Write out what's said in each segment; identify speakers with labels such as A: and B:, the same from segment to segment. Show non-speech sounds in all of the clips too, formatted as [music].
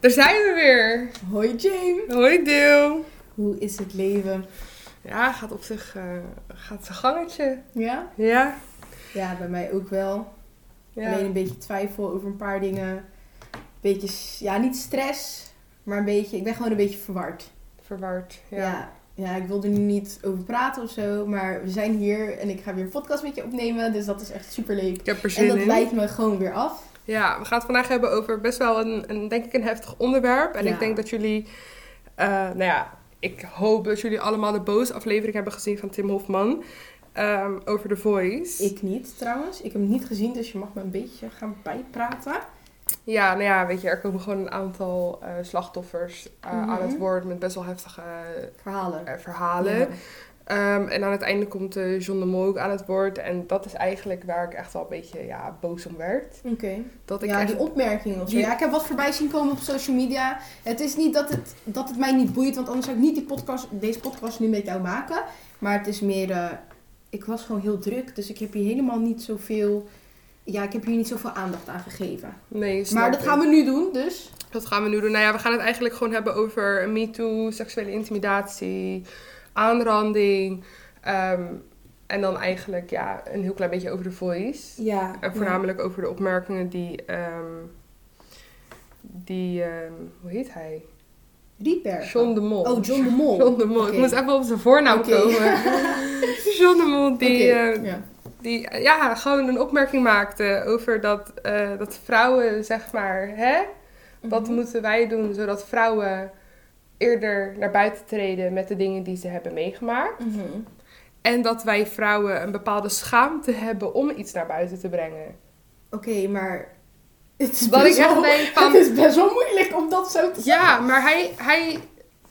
A: Daar zijn we weer.
B: Hoi Jane,
A: Hoi Deel.
B: hoe is het leven?
A: Ja, gaat op zich eh, gaat zijn gangetje.
B: Ja?
A: Ja.
B: Ja, bij mij ook wel.
A: ja.
B: Alleen een beetje twijfel over een paar dingen. Beetje, s- ja, niet stress, maar een beetje, ik ben gewoon een beetje verward.
A: Verward. Ja.
B: ja. Ja, ik wil er nu niet over praten of zo, maar we zijn hier en ik ga weer een podcast met je opnemen, dus dat is echt super leuk.
A: Ik heb er zin
B: En dat
A: in.
B: leidt me gewoon weer af.
A: Ja, we gaan het vandaag hebben over best wel een, een denk ik, een heftig onderwerp. En
B: Ja.
A: ik denk dat jullie, eh, nou ja, ik hoop dat jullie allemaal de Boos aflevering hebben gezien van Tim Hofman. ehm, over The Voice.
B: Ik niet trouwens, ik heb hem niet gezien, dus je mag me een beetje gaan bijpraten.
A: Ja, nou ja, weet je, er komen gewoon een aantal eh, slachtoffers eh, aan het
B: Mhm.
A: woord met best wel heftige eh,
B: Verhalen.
A: verhalen.
B: Ja.
A: Ehm, en aan het einde komt eh, John de Mol ook aan het woord. En dat is eigenlijk waar ik echt wel een beetje ja, boos om werd.
B: Oké.
A: Dat ik
B: ja,
A: echt...
B: die opmerking of zo.
A: Die-
B: Ja, ik heb wat voorbij zien komen op social media. Het is niet dat het, dat het mij niet boeit, want anders zou ik niet die podcast, deze podcast nu met jou maken. Maar het is meer, eh, ik was gewoon heel druk, dus ik heb hier helemaal niet zoveel, ja, ik heb hier niet zoveel aandacht aan gegeven.
A: Nee, snap
B: Maar dat
A: ik.
B: gaan we nu doen, dus.
A: Dat gaan we nu doen. Nou ja, we gaan het eigenlijk gewoon hebben over MeToo, seksuele intimidatie, aanranding. ehm, en dan eigenlijk ja, een heel klein beetje over de voice.
B: Ja.
A: En voornamelijk over de opmerkingen die... ehm, die, ehm, hoe heet hij?
B: Rieper.
A: John de Mol.
B: Oh, John de Mol.
A: John de Mol.
B: Oké.
A: Ik moest even op zijn voornaam
B: Oké.
A: komen.
B: [laughs]
A: John de Mol, die,
B: Oké,
A: eh,
B: ja.
A: die eh, ja, gewoon een opmerking maakte over dat, eh, dat vrouwen, zeg maar, hè? Wat
B: Mhm.
A: moeten wij doen zodat vrouwen eerder naar buiten treden met de dingen die ze hebben meegemaakt?
B: Mhm.
A: En dat wij vrouwen een bepaalde schaamte hebben om iets naar buiten te brengen.
B: Oké, maar het is,
A: Dat ik
B: best
A: echt
B: wel,
A: denk van...
B: [laughs] het is best wel moeilijk om dat zo te
A: Ja, maar hij... hij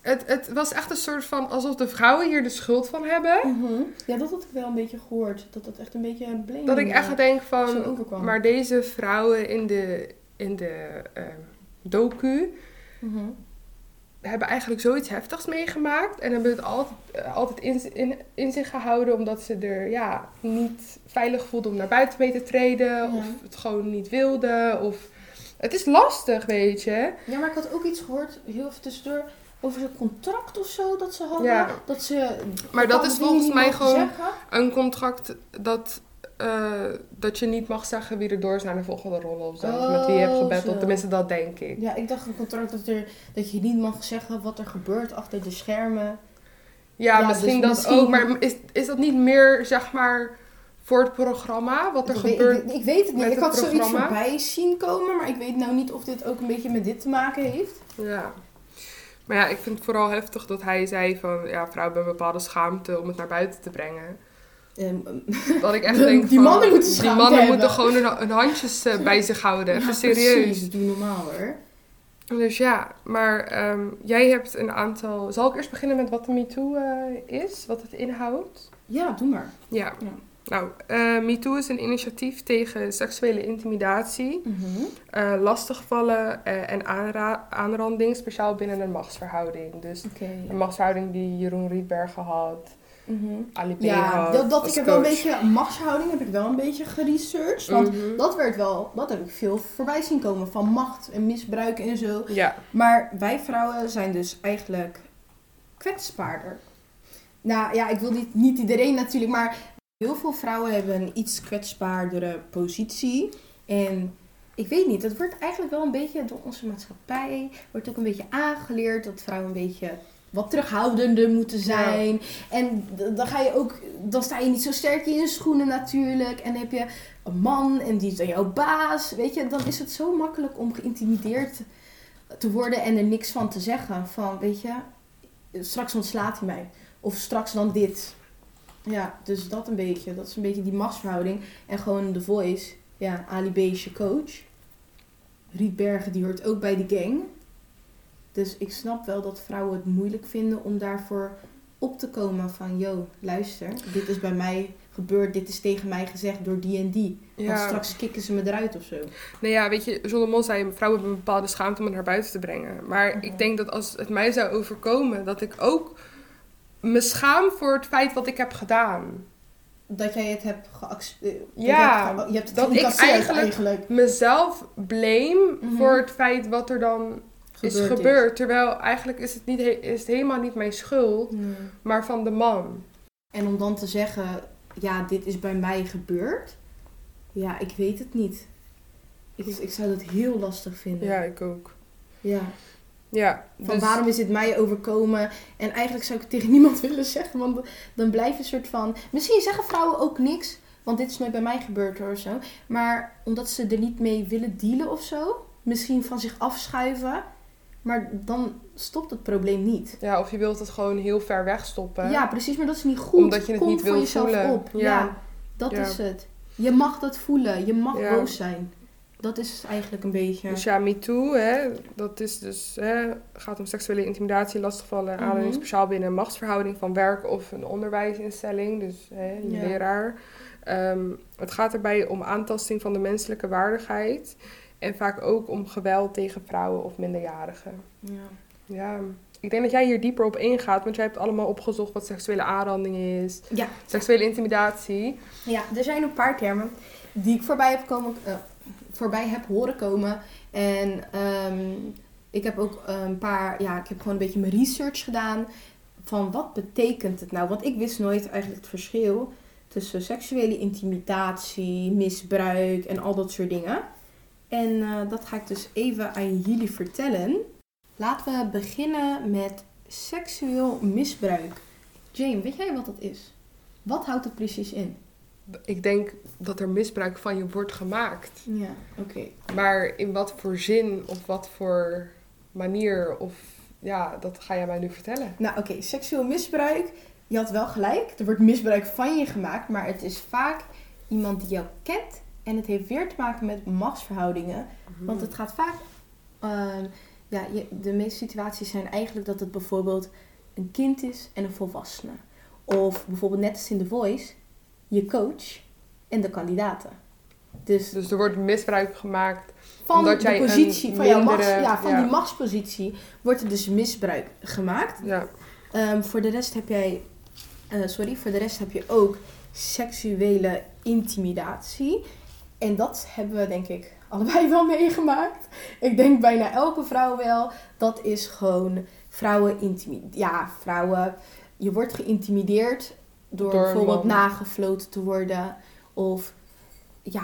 A: het, het was echt een soort van alsof de vrouwen hier de schuld van hebben.
B: Mhm. Ja, dat had ik wel een beetje gehoord. Dat dat echt een beetje een blame eh,
A: Dat ik echt denk
B: zo
A: van...
B: overkwam.
A: Maar deze vrouwen in de, in de ehm, docu
B: Mhm.
A: hebben eigenlijk zoiets heftigs meegemaakt. En hebben het altijd, eh, altijd in, in, in zich gehouden omdat ze er ja, niet veilig voelden om naar buiten mee te treden. Of het gewoon niet wilden. Of... Het is lastig, weet je.
B: Ja, maar ik had ook iets gehoord, heel even tussendoor, over zo'n contract of zo dat ze hadden.
A: Ja.
B: Dat ze.
A: Maar dat
B: bepaalde
A: is
B: dingen
A: volgens
B: niet
A: mij
B: mogen
A: gewoon-
B: zeggen.
A: Een contract dat, eh, dat je niet mag zeggen wie er door is naar de volgende ronde of zo. of met wie je hebt
B: Oh,
A: gebed.
B: zo.
A: Tenminste, dat denk ik.
B: Ja, ik dacht een contract dat, er, dat je niet mag zeggen wat er gebeurt achter de schermen.
A: Ja,
B: Ja,
A: misschien
B: dus
A: dat
B: misschien-
A: ook. Maar is, is dat niet meer, zeg maar, voor het programma? Wat er
B: ik,
A: gebeurt?
B: weet, ik, ik weet het niet.
A: met
B: Ik
A: het
B: had zoiets
A: programma.
B: voorbij zien komen, maar ik weet nou niet of dit ook een beetje met dit te maken heeft.
A: Ja. Maar ja, ik vind het vooral heftig dat hij zei van... Ja, vrouwen hebben een bepaalde schaamte om het naar buiten te brengen.
B: Ehm,
A: Dat ik echt
B: [laughs] Die
A: denk van...
B: mannen moeten
A: Die
B: schaamte
A: mannen
B: hebben.
A: moeten gewoon hun, hun handjes eh, bij zich houden. Even
B: [laughs] ja,
A: serieus.
B: Precies, doe normaal hoor.
A: Dus ja, maar ehm, jij hebt een aantal... Zal ik eerst beginnen met wat de MeToo eh, is? Wat het inhoudt?
B: Ja, doe maar.
A: Ja.
B: Ja.
A: Nou, eh MeToo is een initiatief tegen seksuele intimidatie,
B: Mhm.
A: eh, lastigvallen eh, en aanra- aanranding, speciaal binnen een machtsverhouding. Dus
B: Oké.
A: Een machtshouding die Jeroen Rietbergen had,
B: Mhm.
A: Ali B.
B: Ja,
A: had.
B: dat, dat
A: als
B: ik heb wel een
A: coach.
B: beetje machtshouding heb ik wel een beetje geresearched. Want
A: Mhm.
B: dat werd wel, dat heb ik veel voorbij zien komen van macht en misbruik en zo.
A: Ja,
B: Maar wij vrouwen zijn dus eigenlijk kwetsbaarder. Nou ja, ik wil niet, niet iedereen natuurlijk, maar heel veel vrouwen hebben een iets kwetsbaardere positie. En ik weet niet, dat wordt eigenlijk wel een beetje door onze maatschappij, wordt ook een beetje aangeleerd dat vrouwen een beetje wat terughoudender moeten zijn. En d- dan ga je ook, dan sta je niet zo sterk in je schoenen natuurlijk. En dan heb je een man en die is dan jouw baas. Weet je, dan is het zo makkelijk om geïntimideerd te worden en er niks van te zeggen. Van, weet je, straks ontslaat hij mij. Of straks dan dit. Ja, dus dat een beetje. Dat is een beetje die machtsverhouding. En gewoon de voice. Ja, Ali B is je coach. Riet Bergen, die hoort ook bij de gang. Dus ik snap wel dat vrouwen het moeilijk vinden om daarvoor op te komen van... Yo, luister, dit is bij mij gebeurd. Dit is tegen mij gezegd door die en die. Want
A: ja.
B: straks kicken ze me eruit of zo.
A: Nou ja, weet je, John de Mol zei, vrouwen hebben een bepaalde schaamte om het naar buiten te brengen. Maar
B: Mhm.
A: ik denk dat als het mij zou overkomen, dat ik ook me schaam voor het feit wat ik heb gedaan.
B: Dat jij het hebt geaccepteerd.
A: Ja,
B: je hebt het, je hebt het
A: dat ik
B: geïncasseerd
A: eigenlijk-
B: eigenlijk.
A: Mezelf blame
B: Mhm.
A: voor het feit wat er dan is gebeurd. Terwijl eigenlijk is het, niet he- is het helemaal niet mijn schuld,
B: Nee.
A: maar van de man.
B: En om dan te zeggen, ja, dit is bij mij gebeurd. Ja, ik weet het niet. Ik, ik zou dat heel lastig vinden.
A: Ja, ik ook.
B: Ja.
A: Ja,
B: Van
A: dus-
B: waarom is dit mij overkomen? En eigenlijk zou ik het tegen [laughs] niemand willen zeggen, want dan blijf je een soort van... Misschien zeggen vrouwen ook niks, want dit is nooit bij mij gebeurd hoor, of zo. Maar omdat ze er niet mee willen dealen of zo, misschien van zich afschuiven, maar dan stopt het probleem niet.
A: Ja, of je wilt het gewoon heel ver wegstoppen.
B: Ja, precies, maar dat is niet goed.
A: Omdat je het
B: Kom
A: niet
B: voor
A: wil
B: jezelf
A: voelen.
B: op. Ja,
A: Ja.
B: dat
A: Ja.
B: is het. Je mag dat voelen, je mag
A: Ja.
B: boos zijn. Dat is eigenlijk een beetje...
A: Dus ja, MeToo, hè, dat is dus, hè, gaat om seksuele intimidatie, lastigvallen,
B: Mhm.
A: aanleiding speciaal binnen een machtsverhouding van werk of een onderwijsinstelling, dus hè, je
B: Ja.
A: leraar. Ehm, het gaat erbij om aantasting van de menselijke waardigheid en vaak ook om geweld tegen vrouwen of minderjarigen.
B: Ja.
A: Ja, ik denk dat jij hier dieper op ingaat, want jij hebt allemaal opgezocht wat seksuele aanranding is,
B: ja,
A: seksuele intimidatie.
B: Ja, er zijn een paar termen die ik voorbij heb, komen, eh, voorbij heb horen komen. En ehm, ik heb ook een paar, ja, ik heb gewoon een beetje mijn research gedaan van wat betekent het nou? Want ik wist nooit eigenlijk het verschil tussen seksuele intimidatie, misbruik en al dat soort dingen. En eh, dat ga ik dus even aan jullie vertellen. Laten we beginnen met seksueel misbruik. Jane, weet jij wat dat is? Wat houdt het precies in?
A: Ik denk dat er misbruik van je wordt gemaakt.
B: Ja, oké.
A: Maar in wat voor zin of wat voor manier of ja, dat ga jij mij nu vertellen.
B: Nou, oké, seksueel misbruik. Je had wel gelijk. Er wordt misbruik van je gemaakt, maar het is vaak iemand die jou kent. En het heeft weer te maken met machtsverhoudingen. Want het gaat vaak. ehm, ja, je- de meeste situaties zijn eigenlijk dat het bijvoorbeeld een kind is en een volwassene. Of bijvoorbeeld net als in The Voice, je coach en de kandidaten. Dus
A: Dus er wordt misbruik gemaakt.
B: van
A: Omdat
B: de
A: jij een
B: positie, van, jouw machts,
A: mindere-
B: ja, van
A: ja.
B: die machtspositie, wordt er dus misbruik gemaakt.
A: Ja.
B: Ehm, voor de rest heb jij, eh, sorry, voor de rest heb je ook seksuele intimidatie. En dat hebben we denk ik [laughs] allebei wel meegemaakt. Ik denk bijna elke vrouw wel. Dat is gewoon vrouwen intimideren. Ja, vrouwen. Je wordt geïntimideerd door,
A: Door een
B: bijvoorbeeld
A: man.
B: nagefloten te worden. Of ja,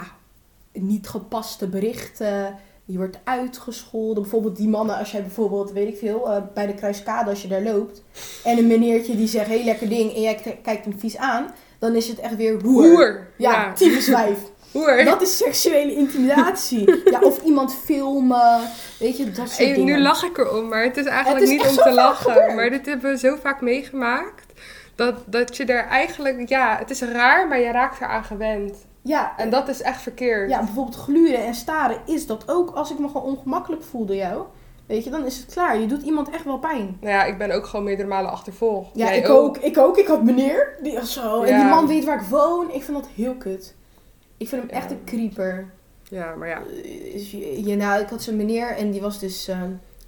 B: niet gepaste berichten. Je wordt uitgescholden. Bijvoorbeeld die mannen, als jij bijvoorbeeld, weet ik veel, eh, bij de kruiskade als je daar loopt. En een meneertje die zegt, hé hey, lekker ding. En jij k- kijkt hem vies aan. Dan is het echt weer hoer.
A: Hoer.
B: Ja, ja.
A: Ja.
B: typisch wijf.
A: [laughs] Hoer.
B: Dat is seksuele intimidatie. ja, of iemand filmen. Weet je, dat soort
A: Hey,
B: dingen.
A: nu lach ik erom, maar het is eigenlijk
B: Het is
A: niet
B: echt
A: om
B: zo
A: te
B: vaak
A: lachen.
B: gebeurd.
A: Maar dit hebben we zo vaak meegemaakt. Dat, dat je er eigenlijk, ja, het is raar, maar je raakt eraan gewend.
B: Ja,
A: En dat is echt verkeerd.
B: ja, bijvoorbeeld gluren en staren is dat ook. Als ik me gewoon ongemakkelijk voel door jou. Weet je, dan is het klaar. Je doet iemand echt wel pijn.
A: Nou ja, ik ben ook gewoon meerdere malen achtervolgd.
B: Ja,
A: Jij
B: ik ook. Ik ook. Ik had meneer. Die was zo. En
A: Ja.
B: die man weet waar ik woon. Ik vind dat heel kut. Ik vind hem
A: Ja.
B: echt een creeper.
A: Ja, maar ja.
B: Eh, je- nou, ik had zo'n meneer en die was dus eh,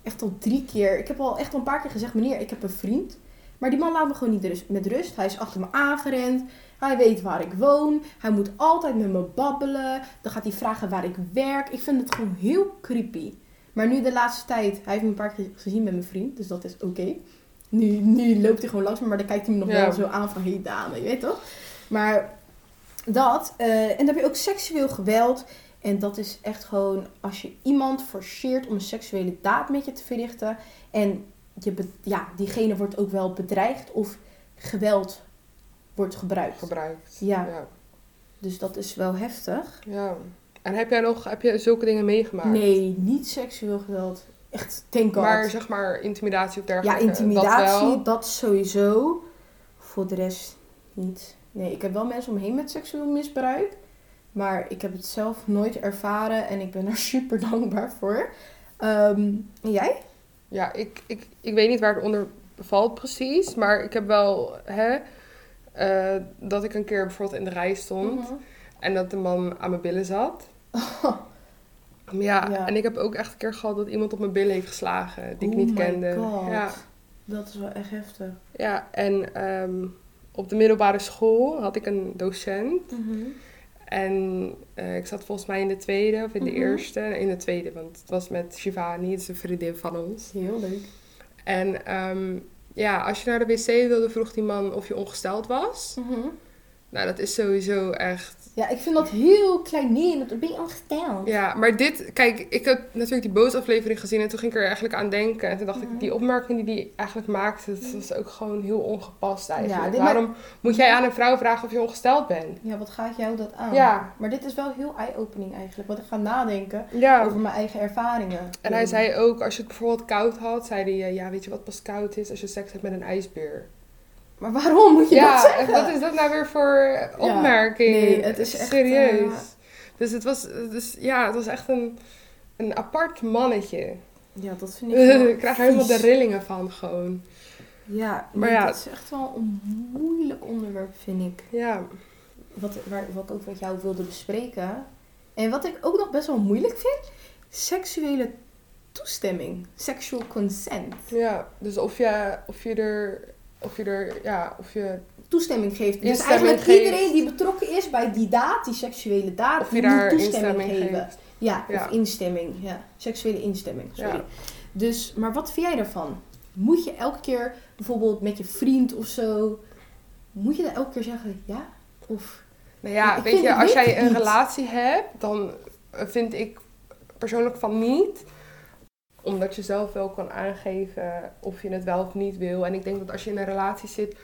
B: echt al drie keer. Ik heb al echt al een paar keer gezegd: meneer, ik heb een vriend. Maar die man laat me gewoon niet rust- met rust. Hij is achter me aangerend. Hij weet waar ik woon. Hij moet altijd met me babbelen. Dan gaat hij vragen waar ik werk. Ik vind het gewoon heel creepy. Maar nu de laatste tijd, hij heeft me een paar keer gezien met mijn vriend, dus dat is oké. Nu, nu loopt hij gewoon langs me, maar dan kijkt hij me nog
A: Ja.
B: wel zo aan van, hé hey, dame, je weet toch? Maar dat, eh, en dan heb je ook seksueel geweld. En dat is echt gewoon als je iemand forceert om een seksuele daad met je te verrichten. En je be- ja, diegene wordt ook wel bedreigd of geweld wordt gebruikt.
A: Gebruikt.
B: Ja,
A: ja.
B: dus dat is wel heftig.
A: Ja. En heb jij nog, heb je zulke dingen meegemaakt?
B: Nee, niet seksueel geweld. Echt, thank god.
A: Maar zeg maar intimidatie of
B: Ja,
A: dergelijke. Dat
B: intimidatie,
A: wel.
B: dat, sowieso. Voor de rest niet. Nee, ik heb wel mensen omheen met seksueel misbruik. Maar ik heb het zelf nooit ervaren en ik ben er [laughs] super dankbaar voor. Ehm, en jij?
A: Ja, ik, ik, ik weet niet waar het onder valt precies. Maar ik heb wel hè, eh, dat ik een keer bijvoorbeeld in de rij stond.
B: Mhm.
A: En dat de man aan mijn billen
B: [laughs]
A: zat. Ja,
B: Ja.
A: en ik heb ook echt een keer gehad dat iemand op mijn billen heeft geslagen. Die ik
B: Oh
A: niet
B: my
A: kende.
B: God.
A: Ja,
B: Dat is wel echt heftig.
A: ja, en ehm, op de middelbare school had ik een docent. En eh, ik zat volgens mij in de tweede of in de
B: Mhm.
A: eerste. In de tweede, want het was met Shivani, dat is een vriendin van ons.
B: Heel leuk.
A: En ehm, ja, als je naar de wc wilde, vroeg die man of je ongesteld was. Nou, dat is sowieso echt
B: Ja, ik vind dat heel kleinerend. Dan ben je ongesteld.
A: Ja, maar dit, kijk, ik heb natuurlijk die boosaflevering gezien en toen ging ik er eigenlijk aan denken. En toen dacht
B: Mhm.
A: ik, die opmerking die die eigenlijk maakte, dat was ook gewoon heel ongepast
B: Ja,
A: eigenlijk.
B: dit
A: Waarom moet jij aan een vrouw vragen of je ongesteld bent?
B: Ja, wat gaat jou dat aan?
A: Ja.
B: Maar dit is wel heel eye-opening eigenlijk. Want ik ga nadenken
A: Ja.
B: over mijn eigen ervaringen.
A: En hij zei ook, als je het bijvoorbeeld koud had, zei hij, eh, ja, weet je wat pas koud is? Als je seks hebt met een ijsbeer.
B: Maar waarom moet je dat
A: ja,
B: zeggen?
A: wat is dat nou weer voor opmerking?
B: nee, het is echt,
A: Serieus.
B: eh,
A: Dus het was, dus, ja, het was echt een, een apart mannetje.
B: Ja, dat vind ik
A: [laughs]
B: wel
A: ik krijg er helemaal de
B: vies.
A: rillingen van gewoon.
B: Ja,
A: Maar
B: maar ja,
A: ja.
B: dat is echt wel een moeilijk onderwerp, vind ik.
A: Ja.
B: Wat, waar, wat ik ook met jou wilde bespreken. En wat ik ook nog best wel moeilijk vind, seksuele toestemming. Sexual consent.
A: Ja, dus of je, of je er. Of je er. Ja, of je.
B: Toestemming geeft. Dus
A: Instemming
B: eigenlijk
A: geeft.
B: iedereen die betrokken is bij die daad, die seksuele daad,
A: Of je
B: die
A: daar
B: Ah, moet toestemming
A: instemming
B: geven.
A: geeft.
B: Ja,
A: Ja.
B: of instemming. Ja. Seksuele instemming, sorry.
A: Ja.
B: Dus, maar wat vind jij daarvan? Moet je elke keer, bijvoorbeeld met je vriend of zo, moet je dan elke keer zeggen ja? Of
A: Nou ja,
B: Ik
A: weet
B: vind-
A: je,
B: ik
A: als jij
B: weet het
A: een
B: niet.
A: relatie hebt, dan eh, vind ik persoonlijk van niet. Omdat je zelf wel kan aangeven of je het wel of niet wil. En ik denk dat als je in een relatie zit,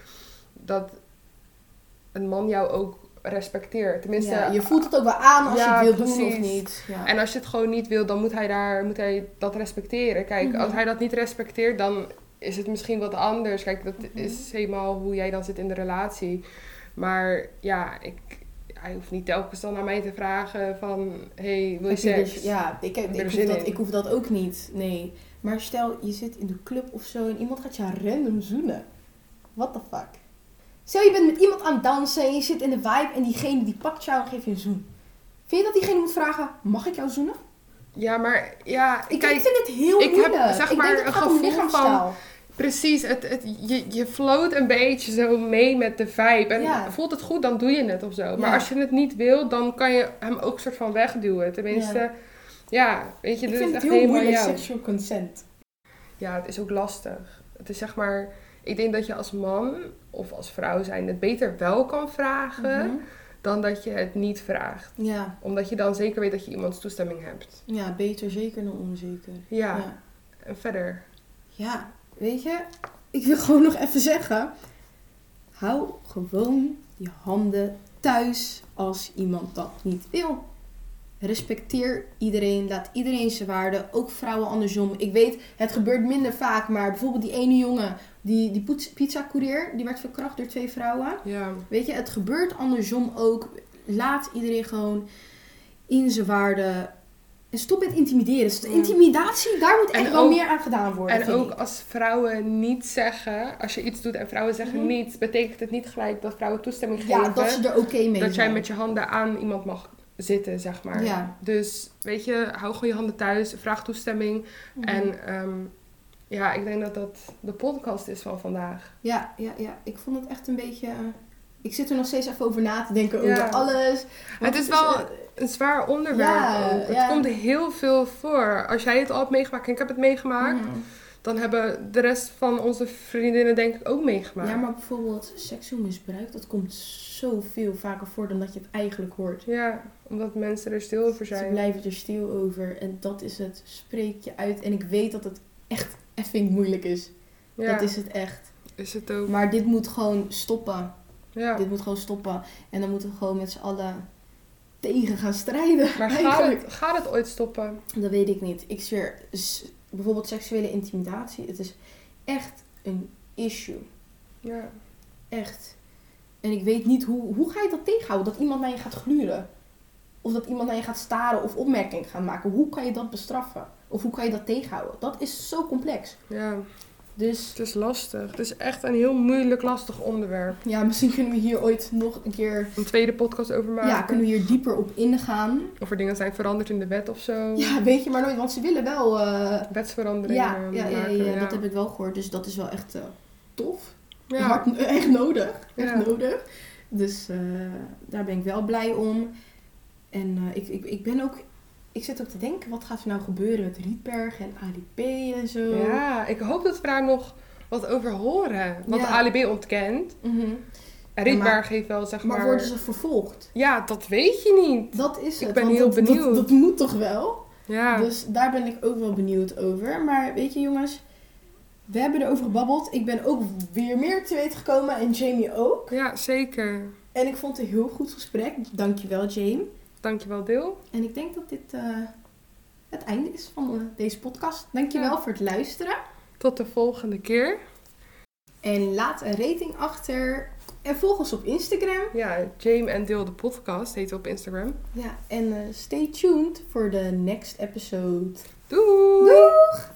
A: dat een man jou ook respecteert. Tenminste,
B: ja, je voelt het ook wel aan als
A: ja,
B: je het wil doen
A: precies.
B: of niet. Ja.
A: En als je het gewoon niet wil, dan moet hij, daar, moet hij dat respecteren. Kijk,
B: Mhm.
A: als hij dat niet respecteert, dan is het misschien wat anders. Kijk, dat
B: Mhm.
A: is helemaal hoe jij dan zit in de relatie. Maar ja, ik, hij hoeft niet telkens dan aan mij te vragen van... hey, wil je
B: Heb je
A: seks?
B: dus- ja, ik, heb,
A: Heb je
B: ik,
A: er
B: hoef
A: zin
B: dat,
A: in?
B: ik hoef dat ook niet. Nee. Maar stel, je zit in de club of zo en iemand gaat je random zoenen. What the fuck? Stel, je bent met iemand aan het dansen en je zit in de vibe en diegene die pakt jou en geeft je een zoen. Vind je dat diegene moet vragen, mag ik jou zoenen?
A: Ja, maar ja,
B: Ik,
A: kijk,
B: ik vind het heel
A: ik heb,
B: moeilijk.
A: zeg
B: ik
A: maar,
B: denk dat
A: een
B: het gaat om
A: gevoel van-
B: lichaamstaal.
A: precies. Het, het, je, je float een beetje zo mee met de vibe. En
B: Ja.
A: voelt het goed, dan doe je het of zo. Maar
B: Ja.
A: als je het niet wil, dan kan je hem ook soort van wegduwen. Tenminste...
B: Ja.
A: Ja. weet je,
B: Ik
A: dit
B: vind
A: is
B: het
A: echt
B: heel
A: helemaal
B: moeilijk,
A: jou.
B: sexual consent.
A: Ja, het is ook lastig. Het is zeg maar, ik denk dat je als man of als vrouw zijn het beter wel kan vragen
B: Mhm.
A: dan dat je het niet vraagt.
B: ja.
A: Omdat je dan zeker weet dat je iemands toestemming hebt.
B: ja, beter zeker dan onzeker.
A: Ja,
B: ja.
A: en verder.
B: Ja, weet je, ik wil [laughs] gewoon nog even zeggen. Hou gewoon je handen thuis als iemand dat niet wil. Respecteer iedereen, laat iedereen zijn waarde, ook vrouwen andersom. Ik weet, het gebeurt minder vaak, maar bijvoorbeeld die ene jongen, die, die poets- pizza-courier, die werd verkracht door twee vrouwen.
A: Ja,
B: Weet je, het gebeurt andersom ook. Laat iedereen gewoon in zijn waarde. En stop met intimideren. Dus de
A: Ja.
B: Intimidatie, daar moet
A: En
B: echt wel
A: ook-
B: meer aan gedaan worden.
A: en
B: Oh, vind
A: ook
B: ik.
A: als vrouwen niet zeggen, als je iets doet en vrouwen zeggen
B: Mhm.
A: niets, betekent het niet gelijk dat vrouwen toestemming
B: Ja,
A: geven
B: dat ze er oké mee
A: dat jij
B: zijn.
A: met je handen aan iemand mag zitten, zeg maar.
B: Ja.
A: Dus weet je, hou gewoon je handen thuis, vraag toestemming.
B: Mhm.
A: En ehm, ja, ik denk dat dat de podcast is van vandaag.
B: Ja, ja, ja. Ik vond het echt een beetje... eh, Ik zit er nog steeds even over na te denken
A: Ja.
B: over alles. Want
A: het is wel
B: eh,
A: een zwaar onderwerp
B: Ja,
A: ook. Het
B: ja.
A: komt heel veel voor. Als jij het al hebt meegemaakt en ik heb het meegemaakt,
B: mhm.
A: dan hebben de rest van onze vriendinnen denk ik ook meegemaakt.
B: Ja, maar bijvoorbeeld seksueel misbruik, dat komt zoveel vaker voor dan dat je het eigenlijk hoort.
A: Ja, omdat mensen er stil over
B: Ze
A: zijn.
B: blijven er stil over en dat is het. Spreek je uit. En ik weet dat het echt effing moeilijk is.
A: Ja,
B: Dat is het echt.
A: is het ook.
B: Maar dit moet gewoon stoppen.
A: Ja.
B: Dit moet gewoon stoppen. En dan moeten we gewoon met z'n allen tegen gaan strijden.
A: Maar gaat
B: eigenlijk.
A: het, gaat het ooit stoppen?
B: Dat weet ik niet. Ik zweer, s- bijvoorbeeld seksuele intimidatie, het is echt een issue.
A: Ja.
B: Echt. En ik weet niet hoe, hoe ga je dat tegenhouden? Dat iemand naar je gaat gluren. Of dat iemand naar je gaat staren of opmerkingen gaat maken. Hoe kan je dat bestraffen? Of hoe kan je dat tegenhouden? Dat is zo complex.
A: ja,
B: Dus
A: het is lastig. Het is echt een heel moeilijk, lastig onderwerp.
B: ja, misschien kunnen we hier ooit nog een keer.
A: Een tweede podcast over maken.
B: Ja, kunnen we hier dieper op ingaan.
A: Of er dingen zijn veranderd in de wet of zo.
B: Ja, weet je maar nooit, want ze willen wel. eh,
A: Wetsveranderingen
B: ja, ja, ja, ja,
A: maken. Ja,
B: dat heb ik wel gehoord. Dus dat is wel echt eh, tof.
A: Ja.
B: Hard, echt nodig. Echt
A: Ja.
B: nodig. Dus eh, daar ben ik wel blij om. En eh, ik, ik, ik ben ook... Ik zit ook te denken, wat gaat er nou gebeuren met Rietberg en ADP en zo?
A: Ja, ik hoop dat we daar nog wat over horen. Want
B: Ja.
A: de ALB ontkent.
B: Mhm.
A: Rietberg
B: maar-
A: heeft wel, zeg maar...
B: Maar worden ze vervolgd?
A: Ja, dat weet je niet.
B: Dat is
A: Ik
B: het.
A: ben
B: want
A: heel
B: dat- dat-
A: benieuwd.
B: dat moet toch wel?
A: Ja.
B: Dus daar ben ik ook wel benieuwd over. Maar weet je jongens, we hebben erover gebabbeld. Ik ben ook weer meer te weten gekomen en Jamie ook.
A: ja, zeker.
B: En ik vond het een heel goed gesprek. Dankjewel Jamie.
A: Dankjewel, Deel.
B: En ik denk dat dit eh, het einde is van eh, deze podcast. Dankjewel
A: Ja.
B: voor het luisteren.
A: Tot de volgende keer.
B: En laat een rating achter. En volg ons op Instagram.
A: Ja, James en Deel de podcast heet op Instagram.
B: Ja, en eh, stay tuned voor de next episode.
A: Doei!